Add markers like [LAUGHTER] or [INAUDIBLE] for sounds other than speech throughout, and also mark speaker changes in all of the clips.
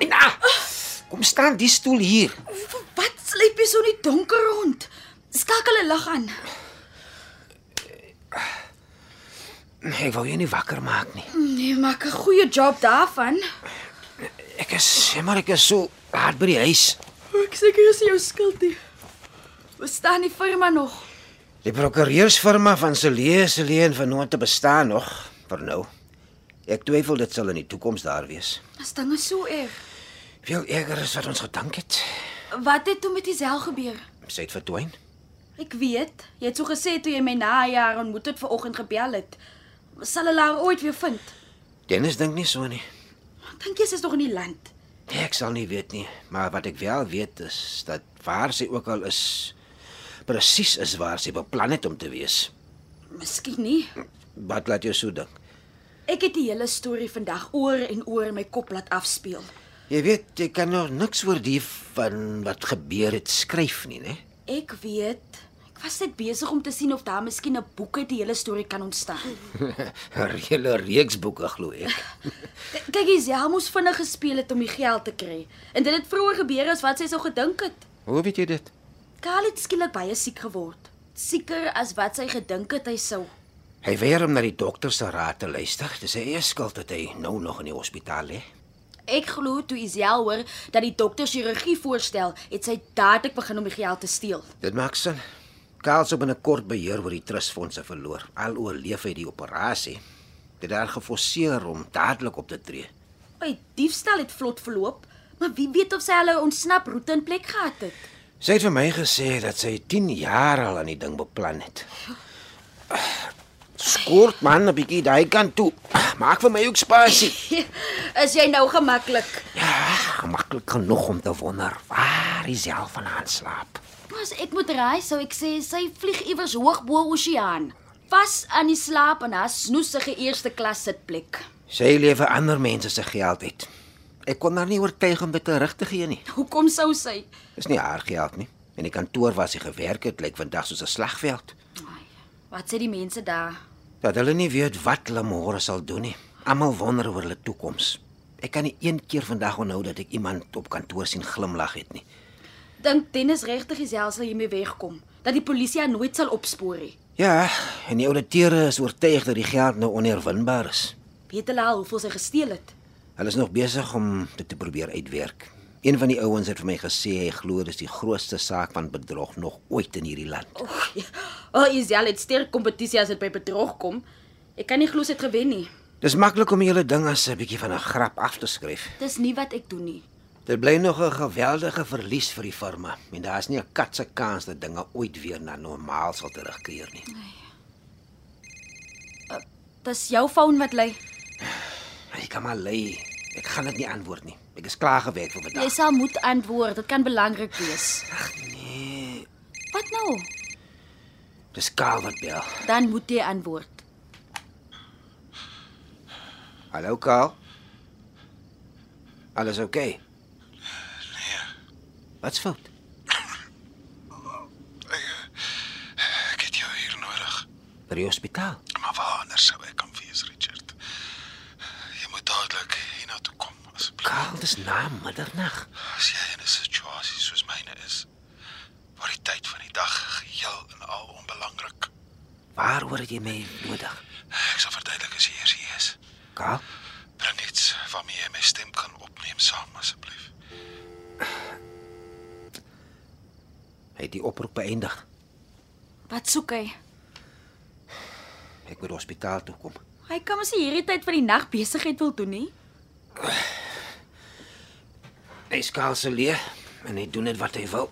Speaker 1: Mina, kom staan die stoel hier.
Speaker 2: Wat sleep jy so in die donker rond? Stak hulle lig aan.
Speaker 1: Ek wou jou nie wakker maak nie.
Speaker 2: Nee, maak 'n goeie job daarvan.
Speaker 1: Ek is, sê maar ek is so hard by die huis.
Speaker 2: Ek seker is jou skuld nie. Bestaan die firma nog?
Speaker 1: Die prokureursfirma van Celee Celee en van Noord te bestaan nog vir nou. Ek twyfel dit sal in die toekoms daar wees.
Speaker 2: As dinge so erg.
Speaker 1: Veel erger is wat ons gedink het.
Speaker 2: Wat het toe met Isel gebeur?
Speaker 1: Sy het verdwyn.
Speaker 2: Ek weet, jy het so gesê toe jy my na jaar ontmoet het vanoggend gebel het. Sal hulle haar ooit weer vind?
Speaker 1: Dennis dink nie so nie.
Speaker 2: Dink jy sy is nog in die land?
Speaker 1: Ek sal nie weet nie, maar wat ek wel weet is dat waar sy ook al is, presies is waar sy beplan het om te wees.
Speaker 2: Miskien nie.
Speaker 1: Wat laat jou so dink?
Speaker 2: Ek het die hele storie vandag oor en oor in my kop laat afspeel.
Speaker 1: Jy weet, jy kan nog niks oor die van wat gebeur het skryf nie, [LAUGHS] né?
Speaker 2: Ek weet. Ek was net besig om te sien of daar miskien 'n boek uit die hele storie kan ontstaan.
Speaker 1: 'n Reële reeks boeke glo ek.
Speaker 2: K- Kyk, Isel moes vinnig gespeel het om die geld te kry. En dit het vroeër gebeur as wat sy sou gedink het.
Speaker 1: Hoe weet jy dit?
Speaker 2: Karl het skielik baie siek geword. Sieker as wat sy gedink het hy sou.
Speaker 1: Hy weier om na die dokter se raad te luister. Dis sy eie skuld dat hy nou nog in die hospitaal lê.
Speaker 2: Ek glo toe Isel hoor dat die dokter chirurgie voorstel, het sy dadelik begin om die geld te steel.
Speaker 1: Dit maak sin. Kaals op 'n kort beheer oor die trustfondse verloor. Al oorleef hy die operasie. Dit daar geforseer om dadelik op te tree.
Speaker 2: By diefstal het vlot verloop, maar wie weet of sy hulle ontsnap roete in plek gehad het.
Speaker 1: Sy het vir my gesê dat sy 10 jaar al aan die ding beplan het. Skort man 'n bietjie daai kant toe. Maak vir my ook spasie.
Speaker 2: Is jy nou gemaklik?
Speaker 1: Ja, maklik genoeg om te wonder waar hy self van aan slaap.
Speaker 2: Maar As ek moet raai, sou ek sê sy vlieg iewers hoog bo oseaan, vas aan die slaap in haar snoesige eerste klas sitplek.
Speaker 1: Sy lewe ander mense se geld uit. Ek kon haar nie oortuig om dit terug te gee nie.
Speaker 2: Hoekom sou sy?
Speaker 1: Dis nie haar geld nie. En die kantoor waar sy gewerk het, lyk vandag soos 'n slagveld.
Speaker 2: Ai, Wat sê die mense daar?
Speaker 1: Dat hulle nie weet wat hulle môre sal doen nie. Almal wonder oor hulle toekoms. Ek kan nie een keer vandag onthou dat ek iemand op kantoor sien glimlag het nie.
Speaker 2: Dink Dennis regtig gesels sal hiermee wegkom, dat die polisie haar nooit sal opspoor nie.
Speaker 1: Ja, en die ouditeure is oortuig dat die geld nou onerwinbaar is.
Speaker 2: Weet hulle al hoeveel sy gesteel het?
Speaker 1: Hulle is nog besig om dit te probeer uitwerk. Een van die ouens het vir my gesê hy glo dis die grootste saak van bedrog nog ooit in hierdie land.
Speaker 2: O, oh, Isel het sterk kompetisie as dit by bedrog kom. Ek kan nie glo sy het gewen nie.
Speaker 1: Dis maklik om die hele ding as 'n bietjie van 'n grap af te skryf.
Speaker 2: Dis nie wat ek doen nie.
Speaker 1: Dit bly nog 'n geweldige verlies vir die firma en daar's nie 'n kat se kans dat dinge ooit weer na normaal sal terugkeer nie.
Speaker 2: Dis jou foon wat lei.
Speaker 1: Ek kan maar lê. Ek gaan dit nie antwoord nie. Ek is klaar gewerk vir
Speaker 2: Jy
Speaker 1: vandag.
Speaker 2: sal moet antwoord, dit kan belangrik wees.
Speaker 1: Nee,
Speaker 2: Wat nou?
Speaker 1: dis Karl wat bel.
Speaker 2: Dan moet jy antwoord.
Speaker 1: Hallo Karl. Alles oké? Okay? Nee.
Speaker 3: Nee,
Speaker 1: Wat's fout?
Speaker 3: Ek het jou hier nodig.
Speaker 1: By die hospitaal.
Speaker 3: Maar waar anders sou ek kan wees, Richard? Jy moet dadelik hiernatoe kom asseblief.
Speaker 1: Karl, dis na middernag.
Speaker 3: As jy in 'n situasie soos myne is, waar die tyd van die dag geheel en al onbelangrik.
Speaker 1: Waaroor het jy my nodig?
Speaker 3: Ek sal verduidelik as jy eers hier is.
Speaker 1: Karl,
Speaker 3: Bring iets waarmee jy my stem kan opneem saam asseblief.
Speaker 1: hy het die oproep beëindig.
Speaker 2: Wat soek hy?
Speaker 1: Ek moet hospitaal toe kom.
Speaker 2: Hy kan mos nie hierdie tyd van die nag besigheid wil doen nie.
Speaker 1: Hy is Karl se leer en hy doen net wat hy wil.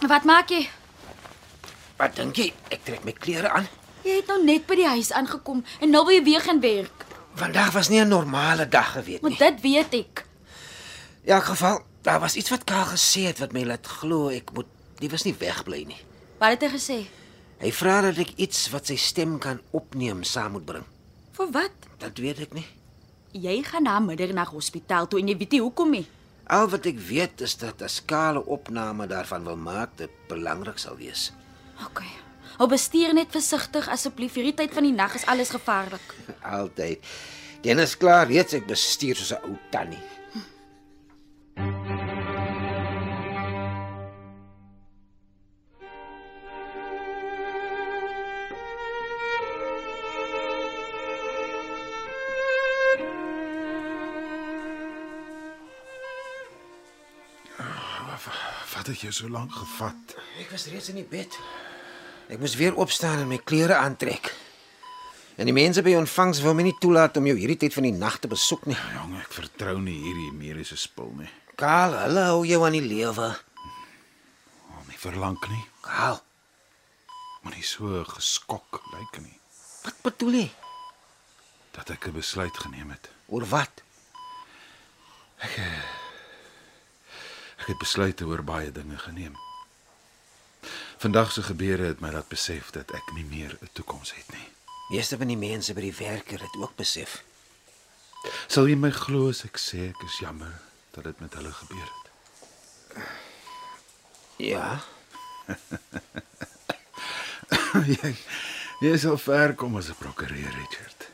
Speaker 2: Wat maak jy?
Speaker 1: Wat dink jy? Ek trek my klere aan.
Speaker 2: Jy het nou net by die huis aangekom en nou wil jy weer gaan werk.
Speaker 1: Vandag was nie 'n normale dag geweet
Speaker 2: Want
Speaker 1: nie.
Speaker 2: dit weet ek.
Speaker 1: In elk geval, Daar was iets wat Karl gesê het wat my laat glo ek moet die was nie wegbly nie.
Speaker 2: Wat het hy gesê?
Speaker 1: Hy vra dat ek iets wat sy stem kan opneem saam moet bring.
Speaker 2: Vir wat?
Speaker 1: Dat weet ek nie.
Speaker 2: Jy gaan na middernag hospitaal toe en jy weet nie hoekom nie.
Speaker 1: Al wat ek weet is dat as Karl 'n opname daarvan wil maak, dit belangrik sal wees. [LAUGHS]
Speaker 2: OK. Hou bestuur net versigtig asseblief. Hierdie tyd van die nag is alles gevaarlik.
Speaker 1: Altyd. Dennis klaar reeds ek bestuur soos 'n ou tannie.
Speaker 3: Wat het jou so lank gevat?
Speaker 1: Ek was reeds in die bed. Ek moes weer opstaan en my klere aantrek. En die mense by ontvangs wil my nie toelaat om jou hierdie tyd van die nag te besoek nie.
Speaker 3: Jong, ek vertrou nie hierdie mure se spul nie.
Speaker 1: Karl, hulle hou jou aan die lewe.
Speaker 3: Om nie verlang nie.
Speaker 1: Karl,
Speaker 3: Moenie so geskok lyk nie
Speaker 1: wat bedoel jy?
Speaker 3: dat ek 'n besluit geneem het.
Speaker 1: Oor wat?
Speaker 3: Ek het besluite oor baie dinge geneem. Vandag se gebeure het my laat besef dat ek nie meer 'n toekoms het nie.
Speaker 1: Meeste van die mense by die werker het ook besef.
Speaker 3: Sal jy my glo as ek sê ek is jammer dat dit met hulle gebeur het?
Speaker 1: Ja.
Speaker 3: [LAUGHS] jy jy sal ver kom as 'n prokureur, Richard.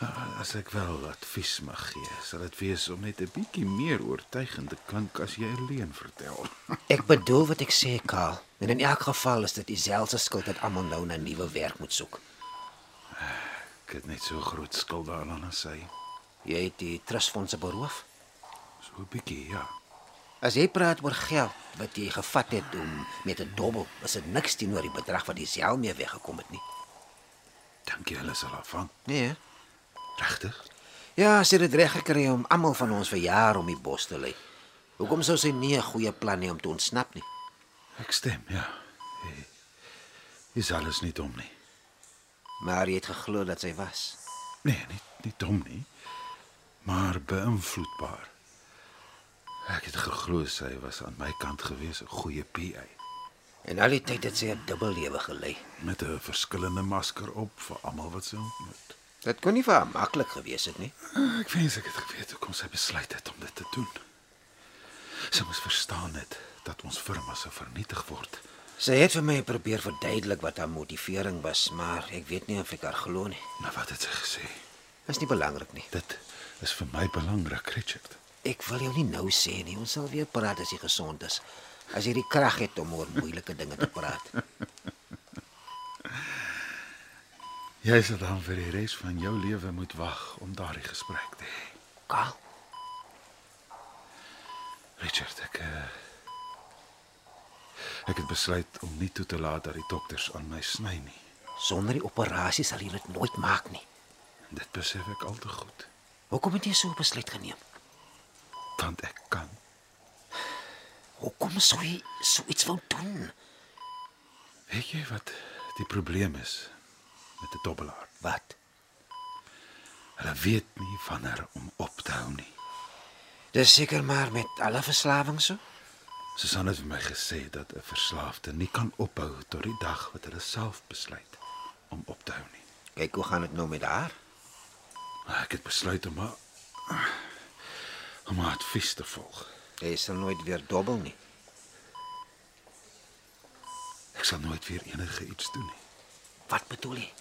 Speaker 3: Ah, As ek wel advies mag gee, sal dit wees om net 'n bietjie meer oortuigend te klink as jy alleen vertel. [LAUGHS]
Speaker 1: Ek bedoel wat ek sê, Karl. En in elk geval is dit Isel se skuld dat almal nou na nuwe werk moet soek.
Speaker 3: Ek het net so groot skuld daaraan as sy.
Speaker 1: Jy het die trustfondse beroof.
Speaker 3: So 'n bietjie, ja.
Speaker 1: As jy praat oor geld wat jy gevat het om met 'n dobbel, is dit niks teenoor die bedrag wat Isel mee weggekom het nie.
Speaker 3: Dink jy hulle sal afvang?
Speaker 1: Nee. hè?
Speaker 3: Regtig?
Speaker 1: Ja, sy het dit reg gekry om almal van ons vir jaar om die bos te lê. Hoekom sou sy nie 'n goeie plan hê om te ontsnap nie?
Speaker 3: Ek stem, ja. Hy- Is alles nie dom nie.
Speaker 1: Maar jy het geglo dat sy was.
Speaker 3: Nee, nie nie dom nie, maar beïnvloedbaar. Ek het geglo sy was aan my kant gewees, 'n goeie PA
Speaker 1: En al die tyd het sy 'n dubbellewe gelei.
Speaker 3: met 'n verskillende masker op vir almal wat sy ontmoet.
Speaker 1: Dit kon nie vir haar maklik gewees het nie.
Speaker 3: Ek wens ek het geweet hoe kom sy besluit het om dit te doen. Sy moes verstaan het dat ons firma se vernietig word.
Speaker 1: Sy het vir my probeer verduidelik wat haar motivering was, maar ek weet nie of ek haar glo nie.
Speaker 3: Maar wat het sy gesê?
Speaker 1: Is nie belangrik nie.
Speaker 3: Dit is vir my belangrik, Richard.
Speaker 1: Ek wil jou nie nou sê nie. Ons sal weer praat as jy gesond is. As jy die krag het om oor moeilike dinge te [LAUGHS] praat.
Speaker 3: Jy sal dan vir die res van jou lewe moet wag om daardie gesprek te hê.
Speaker 1: Karl,
Speaker 3: Richard, ek eh, ek het besluit om nie toe te laat dat die dokters aan my sny nie.
Speaker 1: sonder die operasie sal jy dit nooit maak nie.
Speaker 3: Dit besef ek al te goed,
Speaker 1: Hoekom het jy so 'n besluit geneem?
Speaker 3: want ek kan.
Speaker 1: Hoekom sou jy so iets wou doen?
Speaker 3: Weet jy wat die probleem is met 'n dobbelaar?
Speaker 1: Wat?
Speaker 3: Hulle weet nie wanneer om op te hou nie.
Speaker 1: Dis seker maar met alle verslawings so.
Speaker 3: Susan het vir my gesê dat 'n verslaafde nie kan ophou tot die dag wat hulle self besluit om op te hou nie.
Speaker 1: Kyk hoe gaan dit nou met haar?
Speaker 3: Maar Ah, ek het besluit om haar om haar advies te volg.
Speaker 1: Jy sal nooit weer dobbel nie.
Speaker 3: Ek sal nooit weer enige iets doen nie.
Speaker 1: Wat bedoel jy?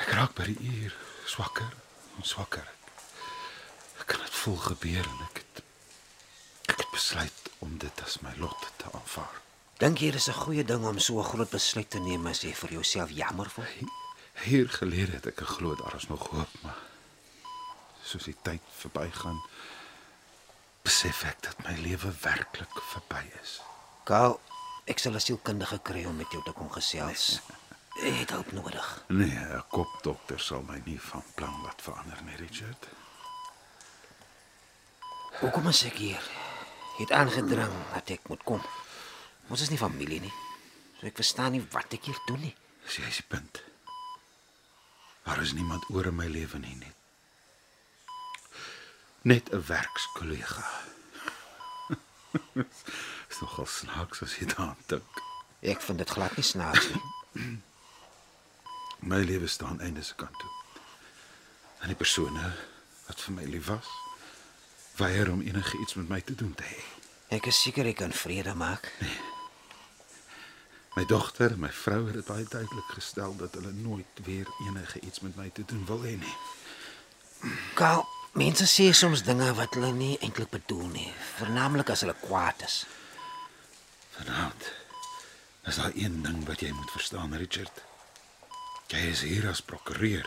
Speaker 3: Ek raak by die uur swakker en swakker. Ek kan dit voel gebeur en ek het ek het besluit om dit as my lot te aanvaar.
Speaker 1: Dink jy dis 'n goeie ding om so 'n groot besluit te neem as jy vir jouself jammer voel?
Speaker 3: Hier gelede het ek geglo daar is nog hoop, maar soos die tyd verbygaan, besef ek dat my lewe werklik verby is.
Speaker 1: Karl, ek sal 'n sielkundige kry om met jou te kom gesels. Jy het hulp nodig.
Speaker 3: Nee, 'n kopdokter sal my nie van plan laat verander nie, Richard.
Speaker 1: Hoekom is ek hier? Jy het aangedrang dat ek moet kom. Ons is nie familie nie. So ek verstaan nie wat ek hier doen nie.
Speaker 3: Dis jy's die punt. Daar is niemand oor in my lewe nie net. nee. Net 'n [LAUGHS] werkskollega. Dis nogal snaaks as jy daaraan dink.
Speaker 1: Ek vind dit glad nie snaaks nie.
Speaker 3: My lewe staan einde se kant toe. En die persone wat vir my lief was, weier om enige iets met my te doen te hê.
Speaker 1: Ek is seker ek kan vrede maak.
Speaker 3: My dogter en my vrou het dit baie duidelik gestel dat hulle nooit weer enige iets met my te doen wil hê nie.
Speaker 1: Kaal, mense sê soms dinge wat hulle nie eintlik bedoel nie, veralnik as hulle kwaad is.
Speaker 3: Vanaand is daar een ding wat jy moet verstaan, Richard. Jy is hier as prokureur.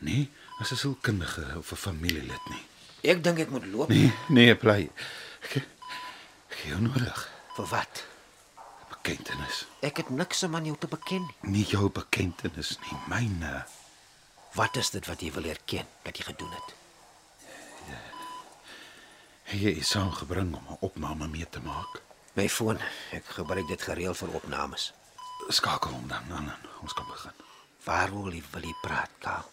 Speaker 3: Nie as 'n sielkundige of 'n familielid nie.
Speaker 1: Ek dink ek moet loop.
Speaker 3: Nee, nee, bly. Ek ek het jou nodig.
Speaker 1: Vir wat?
Speaker 3: Bekentenis.
Speaker 1: Ek het niks om aan jou te beken nie.
Speaker 3: Nie jou bekentenis nie, myne.
Speaker 1: Wat is dit wat jy wil erken dat jy gedoen het?
Speaker 3: Jy is saamgebring om 'n opname mee te maak.
Speaker 1: My foon, ek gebruik dit gereeld vir opnames.
Speaker 3: Skakel hom dan aan en ons kan begin.
Speaker 1: Waaroor wil jy wil jy praat, Kaal?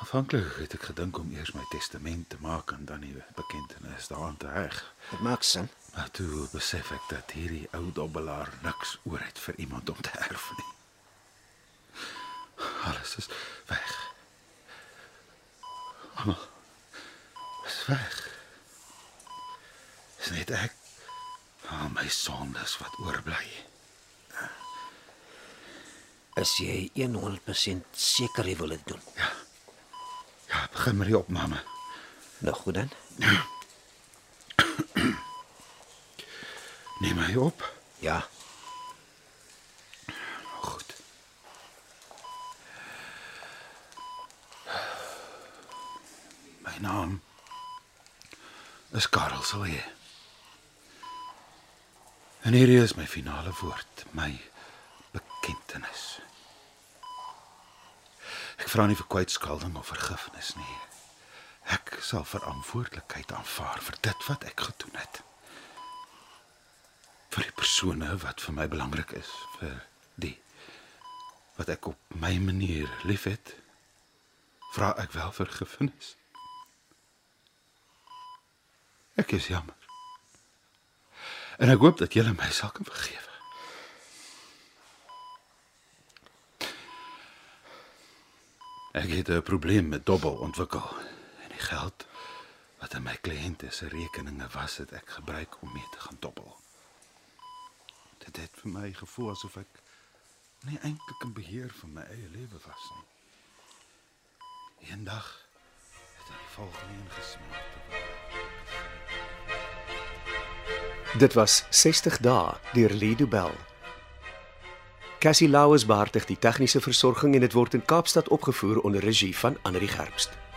Speaker 3: Aanvanklik het ek gedink om eers my testament te maak en dan die bekentenis daaraan te heg.
Speaker 1: Dit maak sin.
Speaker 3: Maar toe besef ek dat hierdie ou dobbelaar niks oor het vir iemand om te erf nie. Alles is weg. Almal is weg. Dis net ek al my sondes wat oorbly.
Speaker 1: Is jy 100% seker jy wil dit doen?
Speaker 3: Ja. Ja, begin met die opname.
Speaker 1: Nou goed dan.
Speaker 3: Neem my op.
Speaker 1: Ja,
Speaker 3: Goed. My naam is Karel Silje. En hierdie is my finale woord, my bekentenis. Ek vra nie vir kwytskulding of vergifnis nie. Ek sal verantwoordelikheid aanvaar vir dit wat ek gedoen het vir die persone wat vir my belangrik is, vir die wat ek op my manier liefhet, vra ek wel vergifnis. Ek is jammer. En ek hoop dat julle my sal kan vergewe. Ek het 'n probleem met dobbel ontwikkel en die geld wat in my kliënte se rekeninge was, het ek gebruik om mee te gaan dobbel. Dit het vir my gevoel asof ek nie eintlik in beheer van my eie lewe was nie. Eendag het ek volgens ingesmeer te word.
Speaker 4: Dit was 60 dae deur Lido Bell. Cassie Lauers beheer die tegniese versorging en dit word in Kaapstad opgevoer onder regie van Anri Gerbst.